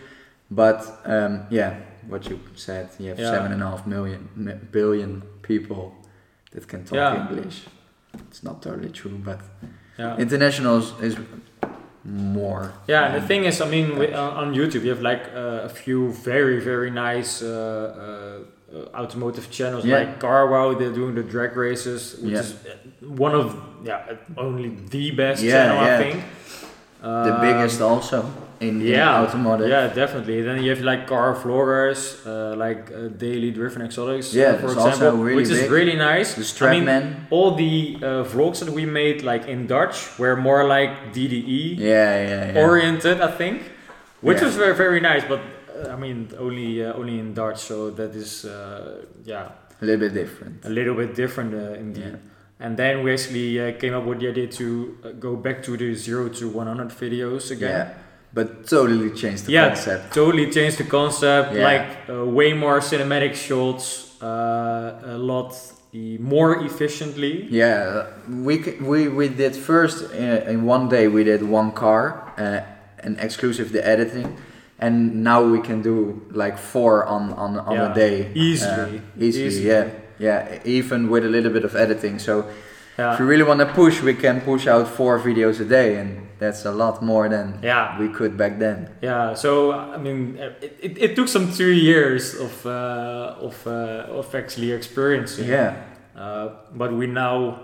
[SPEAKER 2] But um, yeah, what you said, you have
[SPEAKER 1] Yeah.
[SPEAKER 2] seven and a half million mi- billion people that can talk
[SPEAKER 1] Yeah.
[SPEAKER 2] English. It's not totally true, but
[SPEAKER 1] yeah.
[SPEAKER 2] international is, is more.
[SPEAKER 1] Yeah, and
[SPEAKER 2] than-
[SPEAKER 1] the thing is, I mean, we, on, on YouTube, you have like uh, a few very, very nice uh, uh, uh, automotive channels
[SPEAKER 2] Yeah.
[SPEAKER 1] like Carwow. They're doing the drag races, which
[SPEAKER 2] Yeah.
[SPEAKER 1] is uh, one of yeah uh, only the best
[SPEAKER 2] Yeah,
[SPEAKER 1] channel I
[SPEAKER 2] yeah.
[SPEAKER 1] think.
[SPEAKER 2] the
[SPEAKER 1] Um,
[SPEAKER 2] biggest also in, in
[SPEAKER 1] yeah,
[SPEAKER 2] automotive.
[SPEAKER 1] Yeah, definitely. Then you have like car vloggers, uh, like uh, Daily Driven Exotics,
[SPEAKER 2] Yeah,
[SPEAKER 1] uh, for
[SPEAKER 2] that's also
[SPEAKER 1] example,
[SPEAKER 2] really
[SPEAKER 1] which is
[SPEAKER 2] big.
[SPEAKER 1] really nice.
[SPEAKER 2] The
[SPEAKER 1] I
[SPEAKER 2] strap
[SPEAKER 1] mean,
[SPEAKER 2] man.
[SPEAKER 1] all the uh, vlogs that we made like in Dutch were more like E, DDE
[SPEAKER 2] Yeah, yeah, yeah.
[SPEAKER 1] oriented, I think, which
[SPEAKER 2] Yeah.
[SPEAKER 1] was very very nice. But uh, I mean, only uh, only in Dutch, so that is uh, yeah
[SPEAKER 2] a little bit different.
[SPEAKER 1] a little bit different uh, indeed.
[SPEAKER 2] Yeah.
[SPEAKER 1] And then we actually uh, came up with the idea to uh, go back to the zero to one hundred videos again.
[SPEAKER 2] Yeah, but totally changed the
[SPEAKER 1] Yeah.
[SPEAKER 2] concept.
[SPEAKER 1] Totally changed the concept,
[SPEAKER 2] Yeah.
[SPEAKER 1] like uh, way more cinematic shots, uh, a lot e- more efficiently.
[SPEAKER 2] Yeah, we c- we we did first uh, in one day we did one car uh, and exclusive the editing, and now we can do like four on on on
[SPEAKER 1] Yeah,
[SPEAKER 2] a day
[SPEAKER 1] easily,
[SPEAKER 2] Uh, easily,
[SPEAKER 1] easily.
[SPEAKER 2] yeah, yeah, even with a little bit of editing. So if we
[SPEAKER 1] Yeah,
[SPEAKER 2] really want to push, we can push out four videos a day, and that's a lot more than
[SPEAKER 1] yeah.
[SPEAKER 2] we could back then.
[SPEAKER 1] Yeah, so I mean, uh, it, it, it took some three years of uh, of uh, of actually experiencing.
[SPEAKER 2] Yeah,
[SPEAKER 1] Uh, but we now uh,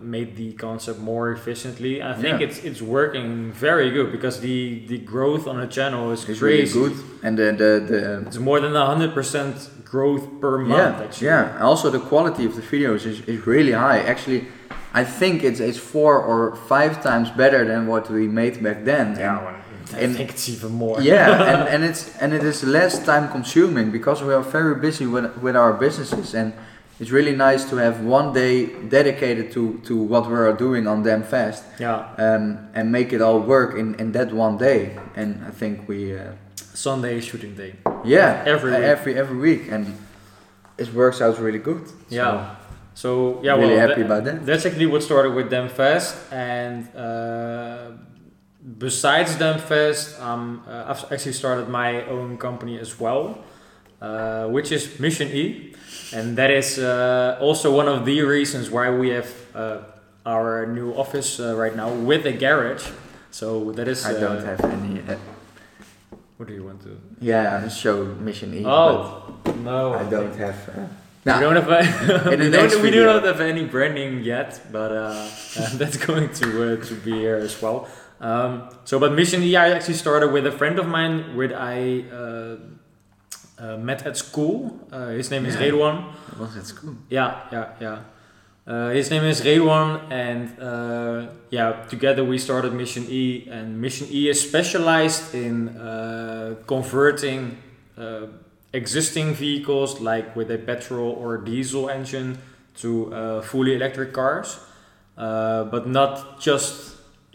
[SPEAKER 1] made the concept more efficiently. I think
[SPEAKER 2] Yeah.
[SPEAKER 1] it's it's working very good because the the growth on the channel is
[SPEAKER 2] it's really
[SPEAKER 1] crazy.
[SPEAKER 2] good, and the the the
[SPEAKER 1] It's more than hundred percent growth per month.
[SPEAKER 2] yeah,
[SPEAKER 1] actually.
[SPEAKER 2] yeah. And Also, the quality of the videos is, is really high. Actually, I think it's it's four or five times better than what we made back then.
[SPEAKER 1] yeah.
[SPEAKER 2] And-
[SPEAKER 1] well, I
[SPEAKER 2] And-
[SPEAKER 1] think it's even more.
[SPEAKER 2] yeah, and, and it's and it is less time consuming because we are very busy with with our businesses and. It's really nice to have one day dedicated to, to what we are doing on Damn Fast
[SPEAKER 1] yeah.
[SPEAKER 2] um, and make it all work in, in that one day. And I think we, uh,
[SPEAKER 1] Sunday shooting day.
[SPEAKER 2] yeah,
[SPEAKER 1] Every
[SPEAKER 2] uh,
[SPEAKER 1] week.
[SPEAKER 2] every every week, and it works out really good. So,
[SPEAKER 1] Yeah. So yeah,
[SPEAKER 2] really
[SPEAKER 1] well,
[SPEAKER 2] happy
[SPEAKER 1] tha-
[SPEAKER 2] about that.
[SPEAKER 1] That's actually what started with Them Fest, and uh, besides Them Fest, um, uh, I've actually started my own company as well, uh, which is Mission E, and that is uh, also one of the reasons why we have uh, our new office uh, right now with a garage. So that is.
[SPEAKER 2] I
[SPEAKER 1] uh,
[SPEAKER 2] don't have any. Uh,
[SPEAKER 1] What do you want to?
[SPEAKER 2] yeah, I show Mission E.
[SPEAKER 1] Oh no!
[SPEAKER 2] but I don't have. Uh,
[SPEAKER 1] We
[SPEAKER 2] nah,
[SPEAKER 1] don't have a,
[SPEAKER 2] In the
[SPEAKER 1] we,
[SPEAKER 2] next
[SPEAKER 1] don't, we do
[SPEAKER 2] video.
[SPEAKER 1] not have any branding yet, but uh, uh, that's going to uh, to be here as well. Um, so, but Mission E, I actually started with a friend of mine, which I uh, uh, met at school. Uh, his name is
[SPEAKER 2] Yeah.
[SPEAKER 1] Redwan.
[SPEAKER 2] it was at school.
[SPEAKER 1] Yeah, yeah, yeah. Uh, his name is Redwan, and uh, yeah, together we started Mission E. And Mission E is specialized in uh, converting uh, existing vehicles, like with a petrol or diesel engine, to uh, fully electric cars, uh, but not just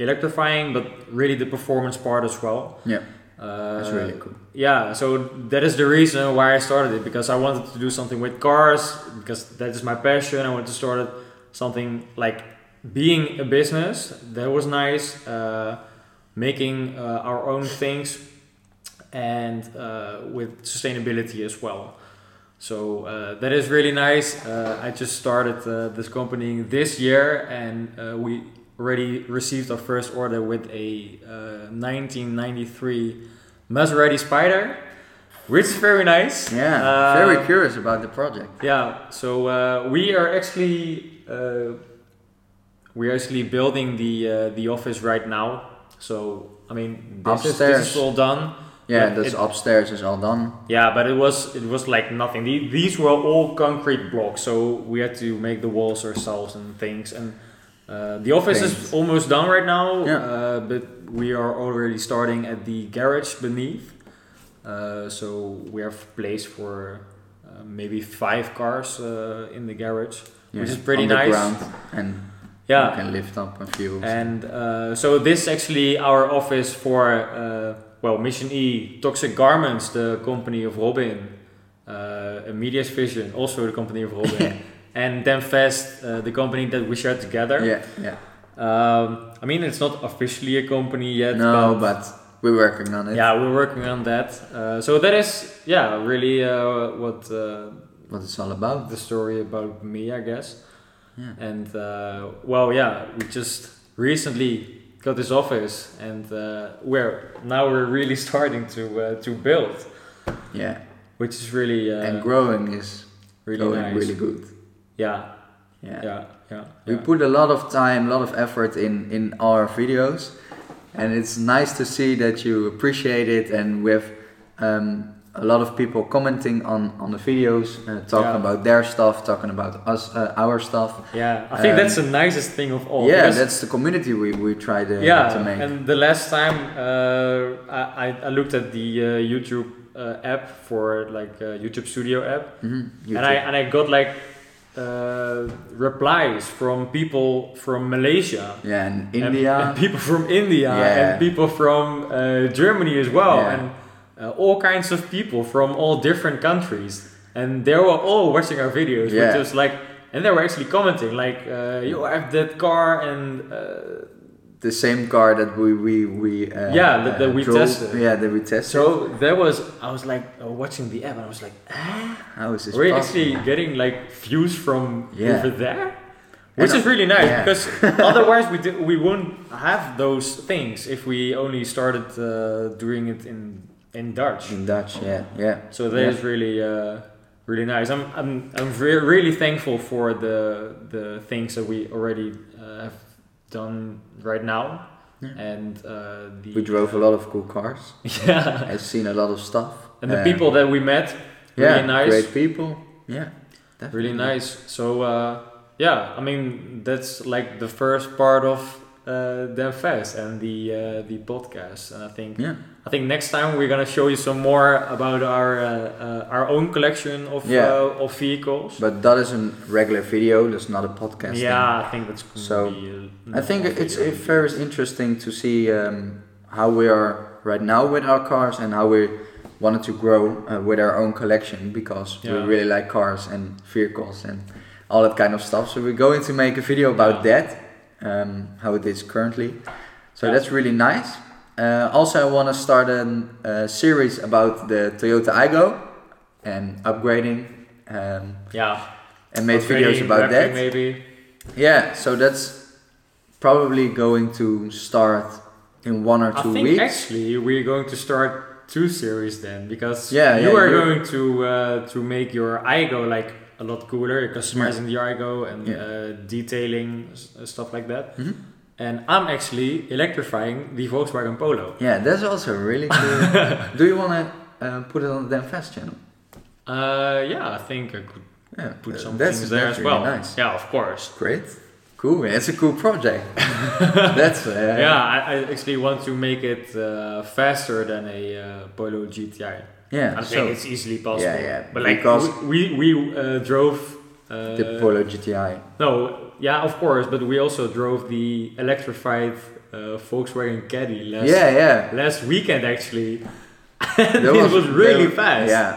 [SPEAKER 1] electrifying, but really the performance part as well.
[SPEAKER 2] Yeah.
[SPEAKER 1] Uh,
[SPEAKER 2] That's really cool.
[SPEAKER 1] Yeah, so that is the reason why I started it because I wanted to do something with cars because that is my passion. I wanted to start it something like being a business that was nice, uh, making uh, our own things, and uh, with sustainability as well. So uh, that is really nice. Uh, I just started uh, this company this year, and uh, we already received our first order with a uh, 1993 Maserati Spider, which is very nice.
[SPEAKER 2] Yeah.
[SPEAKER 1] Uh,
[SPEAKER 2] Very curious about the project.
[SPEAKER 1] yeah, so uh, we are actually uh, we are actually building the uh, the office right now. So I mean, this, is, this is
[SPEAKER 2] Upstairs.
[SPEAKER 1] all done.
[SPEAKER 2] Yeah,
[SPEAKER 1] But
[SPEAKER 2] that's
[SPEAKER 1] it-
[SPEAKER 2] upstairs is all done.
[SPEAKER 1] Yeah, but it was it was like nothing. The- These were all concrete blocks, so we had to make the walls ourselves and things. And uh, the office
[SPEAKER 2] Things.
[SPEAKER 1] is almost done right now,
[SPEAKER 2] Yeah.
[SPEAKER 1] uh, but we are already starting at the garage beneath. Uh, so we have place for uh, maybe five cars uh, in the garage, which is
[SPEAKER 2] Yeah,
[SPEAKER 1] pretty
[SPEAKER 2] on the
[SPEAKER 1] nice.
[SPEAKER 2] ground and
[SPEAKER 1] Yeah,
[SPEAKER 2] you can lift up a few.
[SPEAKER 1] and uh, so this actually our office for uh, well Mission E Toxic Garments, the company of Robin, uh, Media's Vision, also the company of Robin, and Demfest, uh, the company that we share together.
[SPEAKER 2] yeah, yeah.
[SPEAKER 1] Um, I mean, it's not officially a company yet.
[SPEAKER 2] No, but we're working on it.
[SPEAKER 1] yeah, we're working on that. Uh, so that is yeah really uh, what uh,
[SPEAKER 2] What it's all about.
[SPEAKER 1] the story about me, I guess.
[SPEAKER 2] Yeah.
[SPEAKER 1] And uh, well, yeah, we just recently got this office, and uh, we're now we're really starting to uh, to build,
[SPEAKER 2] Yeah.
[SPEAKER 1] which is really uh,
[SPEAKER 2] and growing is
[SPEAKER 1] really
[SPEAKER 2] going
[SPEAKER 1] nice.
[SPEAKER 2] really good.
[SPEAKER 1] yeah,
[SPEAKER 2] Yeah.
[SPEAKER 1] yeah, yeah.
[SPEAKER 2] We
[SPEAKER 1] yeah.
[SPEAKER 2] put a lot of time, a lot of effort in in our videos, and it's nice to see that you appreciate it. And with um, a lot of people commenting on on the videos, uh, talking
[SPEAKER 1] Yeah.
[SPEAKER 2] about their stuff, talking about us, uh, our stuff.
[SPEAKER 1] yeah, I think
[SPEAKER 2] Um,
[SPEAKER 1] that's the nicest thing of all.
[SPEAKER 2] yeah,
[SPEAKER 1] Oh, because-
[SPEAKER 2] that's the community we we try to,
[SPEAKER 1] yeah.
[SPEAKER 2] to make.
[SPEAKER 1] And the last time uh, I, I I looked at the uh, YouTube uh, app for like uh, YouTube Studio app,
[SPEAKER 2] Mhm, you
[SPEAKER 1] and I and I got like uh, replies from people from Malaysia,
[SPEAKER 2] too. yeah, and
[SPEAKER 1] and-
[SPEAKER 2] India.
[SPEAKER 1] and, people from India,
[SPEAKER 2] Yeah.
[SPEAKER 1] and people from uh, Germany as well,
[SPEAKER 2] Yeah.
[SPEAKER 1] and uh, all kinds of people from all different countries, and they were all watching our videos,
[SPEAKER 2] Yeah.
[SPEAKER 1] which was like, and they were actually commenting like, uh, "Yo, I have that car," and uh,
[SPEAKER 2] the same car that we we we uh,
[SPEAKER 1] Yeah, that- that we
[SPEAKER 2] drove-
[SPEAKER 1] tested.
[SPEAKER 2] Yeah, that we tested.
[SPEAKER 1] so there was. I was like uh, watching the app, and I was like, "Ah,
[SPEAKER 2] how is this
[SPEAKER 1] we're
[SPEAKER 2] possible?
[SPEAKER 1] actually getting like views from
[SPEAKER 2] Yeah.
[SPEAKER 1] over there which
[SPEAKER 2] And-
[SPEAKER 1] is really nice
[SPEAKER 2] yeah.
[SPEAKER 1] because otherwise we do, we wouldn't have those things if we only started uh, doing it in in Dutch.
[SPEAKER 2] in Dutch? Yeah, yeah.
[SPEAKER 1] So that is
[SPEAKER 2] Yeah.
[SPEAKER 1] really uh, really nice. I'm I'm I'm re- really thankful for the the things that we already uh, have done right now
[SPEAKER 2] Yeah.
[SPEAKER 1] and uh, the
[SPEAKER 2] We drove a lot of cool cars.
[SPEAKER 1] yeah
[SPEAKER 2] I've seen a lot of stuff.
[SPEAKER 1] and the
[SPEAKER 2] Uh,
[SPEAKER 1] people that we met
[SPEAKER 2] yeah,
[SPEAKER 1] really nice.
[SPEAKER 2] great people. Yeah,
[SPEAKER 1] really
[SPEAKER 2] definitely.
[SPEAKER 1] nice so uh, yeah i mean that's like the first part of uh, them fest and the uh, the podcast and i think
[SPEAKER 2] Yeah,
[SPEAKER 1] i think next time we're gonna show you some more about our uh, uh, our own collection of
[SPEAKER 2] Yeah.
[SPEAKER 1] uh, of vehicles
[SPEAKER 2] but that is a regular video. That's not a podcast.
[SPEAKER 1] yeah i think that's gonna
[SPEAKER 2] So,
[SPEAKER 1] be,
[SPEAKER 2] thing. I think it's
[SPEAKER 1] a
[SPEAKER 2] it's very interesting to see um, how we are right now with our cars and how we wanted to grow uh, with our own collection because
[SPEAKER 1] Yeah.
[SPEAKER 2] we really like cars and vehicles and all that kind of stuff. So we're going to make a video about that, um, how it is currently. So
[SPEAKER 1] Yeah.
[SPEAKER 2] that's really nice. Uh, also, I want to start a uh, series about the Toyota Igo and upgrading, um,
[SPEAKER 1] yeah
[SPEAKER 2] and made
[SPEAKER 1] Upgrading,
[SPEAKER 2] videos about
[SPEAKER 1] wrapping
[SPEAKER 2] that.
[SPEAKER 1] maybe
[SPEAKER 2] Yeah, so that's probably going to start in one or
[SPEAKER 1] i
[SPEAKER 2] two
[SPEAKER 1] think
[SPEAKER 2] weeks.
[SPEAKER 1] actually we're going to start two series then because
[SPEAKER 2] Yeah,
[SPEAKER 1] you
[SPEAKER 2] yeah,
[SPEAKER 1] are
[SPEAKER 2] you're-
[SPEAKER 1] going to uh, to make your igo like a lot cooler you're customizing the igo and
[SPEAKER 2] Yeah.
[SPEAKER 1] uh, detailing s- uh, stuff like that
[SPEAKER 2] Mhm.
[SPEAKER 1] and i'm actually electrifying the volkswagen polo
[SPEAKER 2] Yeah, that's also really cool. Do you want to uh, put it on the Fast channel?
[SPEAKER 1] uh, yeah i think i could
[SPEAKER 2] Yeah,
[SPEAKER 1] put
[SPEAKER 2] uh,
[SPEAKER 1] some
[SPEAKER 2] that's,
[SPEAKER 1] things there
[SPEAKER 2] that's
[SPEAKER 1] as
[SPEAKER 2] really
[SPEAKER 1] well
[SPEAKER 2] Nice.
[SPEAKER 1] yeah of course
[SPEAKER 2] Great. Cool. It's a cool project. that's uh,
[SPEAKER 1] yeah I, I actually want to make it uh, faster than a uh, polo gti
[SPEAKER 2] Yeah.
[SPEAKER 1] I
[SPEAKER 2] so
[SPEAKER 1] think it's easily possible.
[SPEAKER 2] Yeah, yeah,
[SPEAKER 1] But like
[SPEAKER 2] because-
[SPEAKER 1] we we, we uh, drove uh, Uh,
[SPEAKER 2] the Polo GTI.
[SPEAKER 1] No, yeah, of course, but we also drove the electrified uh, Volkswagen Caddy last
[SPEAKER 2] yeah, yeah.
[SPEAKER 1] last weekend actually.
[SPEAKER 2] That
[SPEAKER 1] it was, really
[SPEAKER 2] that-
[SPEAKER 1] fast.
[SPEAKER 2] Yeah,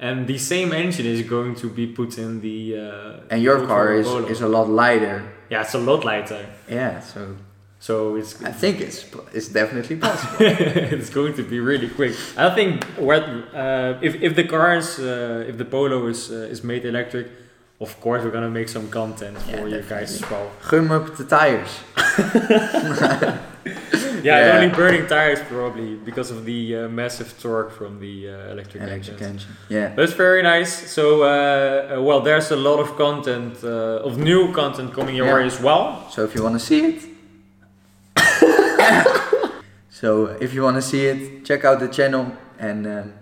[SPEAKER 1] And the same engine is going to be put in the. Uh,
[SPEAKER 2] and your
[SPEAKER 1] Volkswagen
[SPEAKER 2] car is,
[SPEAKER 1] Polo.
[SPEAKER 2] is a lot lighter.
[SPEAKER 1] Yeah, it's a lot lighter.
[SPEAKER 2] Yeah, so
[SPEAKER 1] So it's
[SPEAKER 2] I think it's po- it's definitely possible.
[SPEAKER 1] it's going to be really quick. I think what uh, if if the cars uh, if the Polo is uh, is made electric, of course we're gonna make some content
[SPEAKER 2] Yeah,
[SPEAKER 1] for you guys as well.
[SPEAKER 2] Gum up the tires.
[SPEAKER 1] Yeah,
[SPEAKER 2] Yeah.
[SPEAKER 1] only burning tires probably because of the uh, massive torque from the uh, electric,
[SPEAKER 2] Electric
[SPEAKER 1] engines.
[SPEAKER 2] engine. Yeah.
[SPEAKER 1] That's very nice. So uh, uh, well, there's a lot of content uh, of new content coming your
[SPEAKER 2] Yeah.
[SPEAKER 1] way as well.
[SPEAKER 2] So if you want to see it. so if you want to see it, check out the channel and um,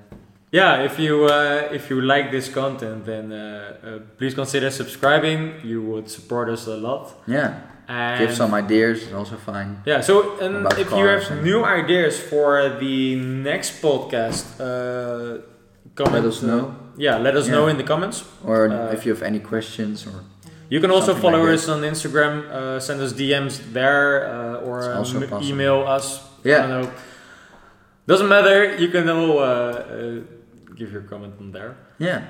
[SPEAKER 1] Yeah, if you uh, if you like this content, then uh, uh, please consider subscribing. You would support us a lot.
[SPEAKER 2] yeah,
[SPEAKER 1] And
[SPEAKER 2] give some ideas. It's also fine.
[SPEAKER 1] Yeah, so and
[SPEAKER 2] About
[SPEAKER 1] if you
[SPEAKER 2] cars
[SPEAKER 1] have
[SPEAKER 2] and-
[SPEAKER 1] new ideas for the next podcast, uh, comment,
[SPEAKER 2] Let us know.
[SPEAKER 1] yeah, let us
[SPEAKER 2] Yeah.
[SPEAKER 1] know in the comments.
[SPEAKER 2] Or
[SPEAKER 1] Uh,
[SPEAKER 2] if you have any questions, or
[SPEAKER 1] You can also
[SPEAKER 2] Something
[SPEAKER 1] follow
[SPEAKER 2] like
[SPEAKER 1] us on Instagram, uh, send us DMs there, uh, or
[SPEAKER 2] It's
[SPEAKER 1] uh,
[SPEAKER 2] also
[SPEAKER 1] m-
[SPEAKER 2] possible.
[SPEAKER 1] email us.
[SPEAKER 2] Yeah.
[SPEAKER 1] I don't know. Doesn't matter. You can all uh, uh, give your comment on there.
[SPEAKER 2] yeah.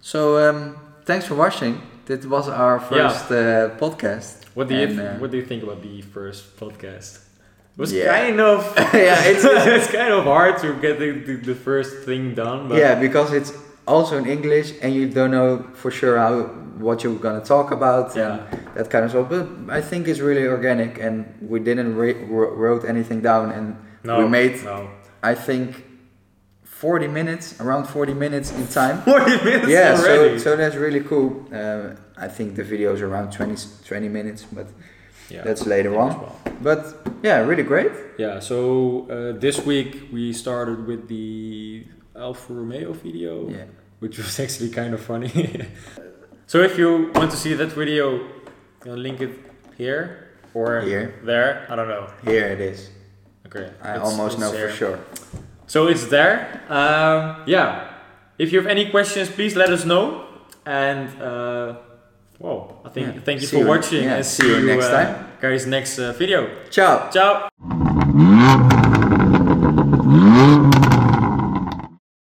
[SPEAKER 2] So um, thanks for watching. That was our first uh, podcast.
[SPEAKER 1] What do you
[SPEAKER 2] And,
[SPEAKER 1] th-
[SPEAKER 2] uh,
[SPEAKER 1] What do you think about the first podcast? It was
[SPEAKER 2] Yeah.
[SPEAKER 1] kind of
[SPEAKER 2] Yeah, it's-
[SPEAKER 1] it's kind of hard to get the, the, the first thing done. But
[SPEAKER 2] yeah, because it's also in English, and you don't know for sure how what you're gonna talk about.
[SPEAKER 1] Yeah.
[SPEAKER 2] and that kind of stuff. But I think it's really organic, and we didn't re- wr- wrote anything down, and
[SPEAKER 1] No,
[SPEAKER 2] we made
[SPEAKER 1] no.
[SPEAKER 2] I think 40 minutes, around 40 minutes in time.
[SPEAKER 1] 40 minutes
[SPEAKER 2] yeah, so,
[SPEAKER 1] already.
[SPEAKER 2] so that's really cool. Uh, I think the video is around 20, 20 minutes, but
[SPEAKER 1] yeah,
[SPEAKER 2] that's later
[SPEAKER 1] as
[SPEAKER 2] on.
[SPEAKER 1] well.
[SPEAKER 2] But yeah, really great.
[SPEAKER 1] Yeah, so uh, this week we started with the Alfa Romeo video,
[SPEAKER 2] Yeah.
[SPEAKER 1] which was actually kind of funny. so if you want to see that video, I'll link it here or
[SPEAKER 2] Here.
[SPEAKER 1] there. I don't know.
[SPEAKER 2] Here it is.
[SPEAKER 1] Okay.
[SPEAKER 2] I
[SPEAKER 1] it's-
[SPEAKER 2] almost
[SPEAKER 1] it's
[SPEAKER 2] know
[SPEAKER 1] there.
[SPEAKER 2] for sure.
[SPEAKER 1] So it's there. Um, yeah. If you have any questions, please let us know. And uh, well, I think
[SPEAKER 2] Yeah.
[SPEAKER 1] thank you
[SPEAKER 2] See
[SPEAKER 1] for
[SPEAKER 2] you-
[SPEAKER 1] watching.
[SPEAKER 2] yeah,
[SPEAKER 1] and
[SPEAKER 2] see you next
[SPEAKER 1] uh,
[SPEAKER 2] time.
[SPEAKER 1] guys next uh, video.
[SPEAKER 2] Ciao.
[SPEAKER 1] Ciao.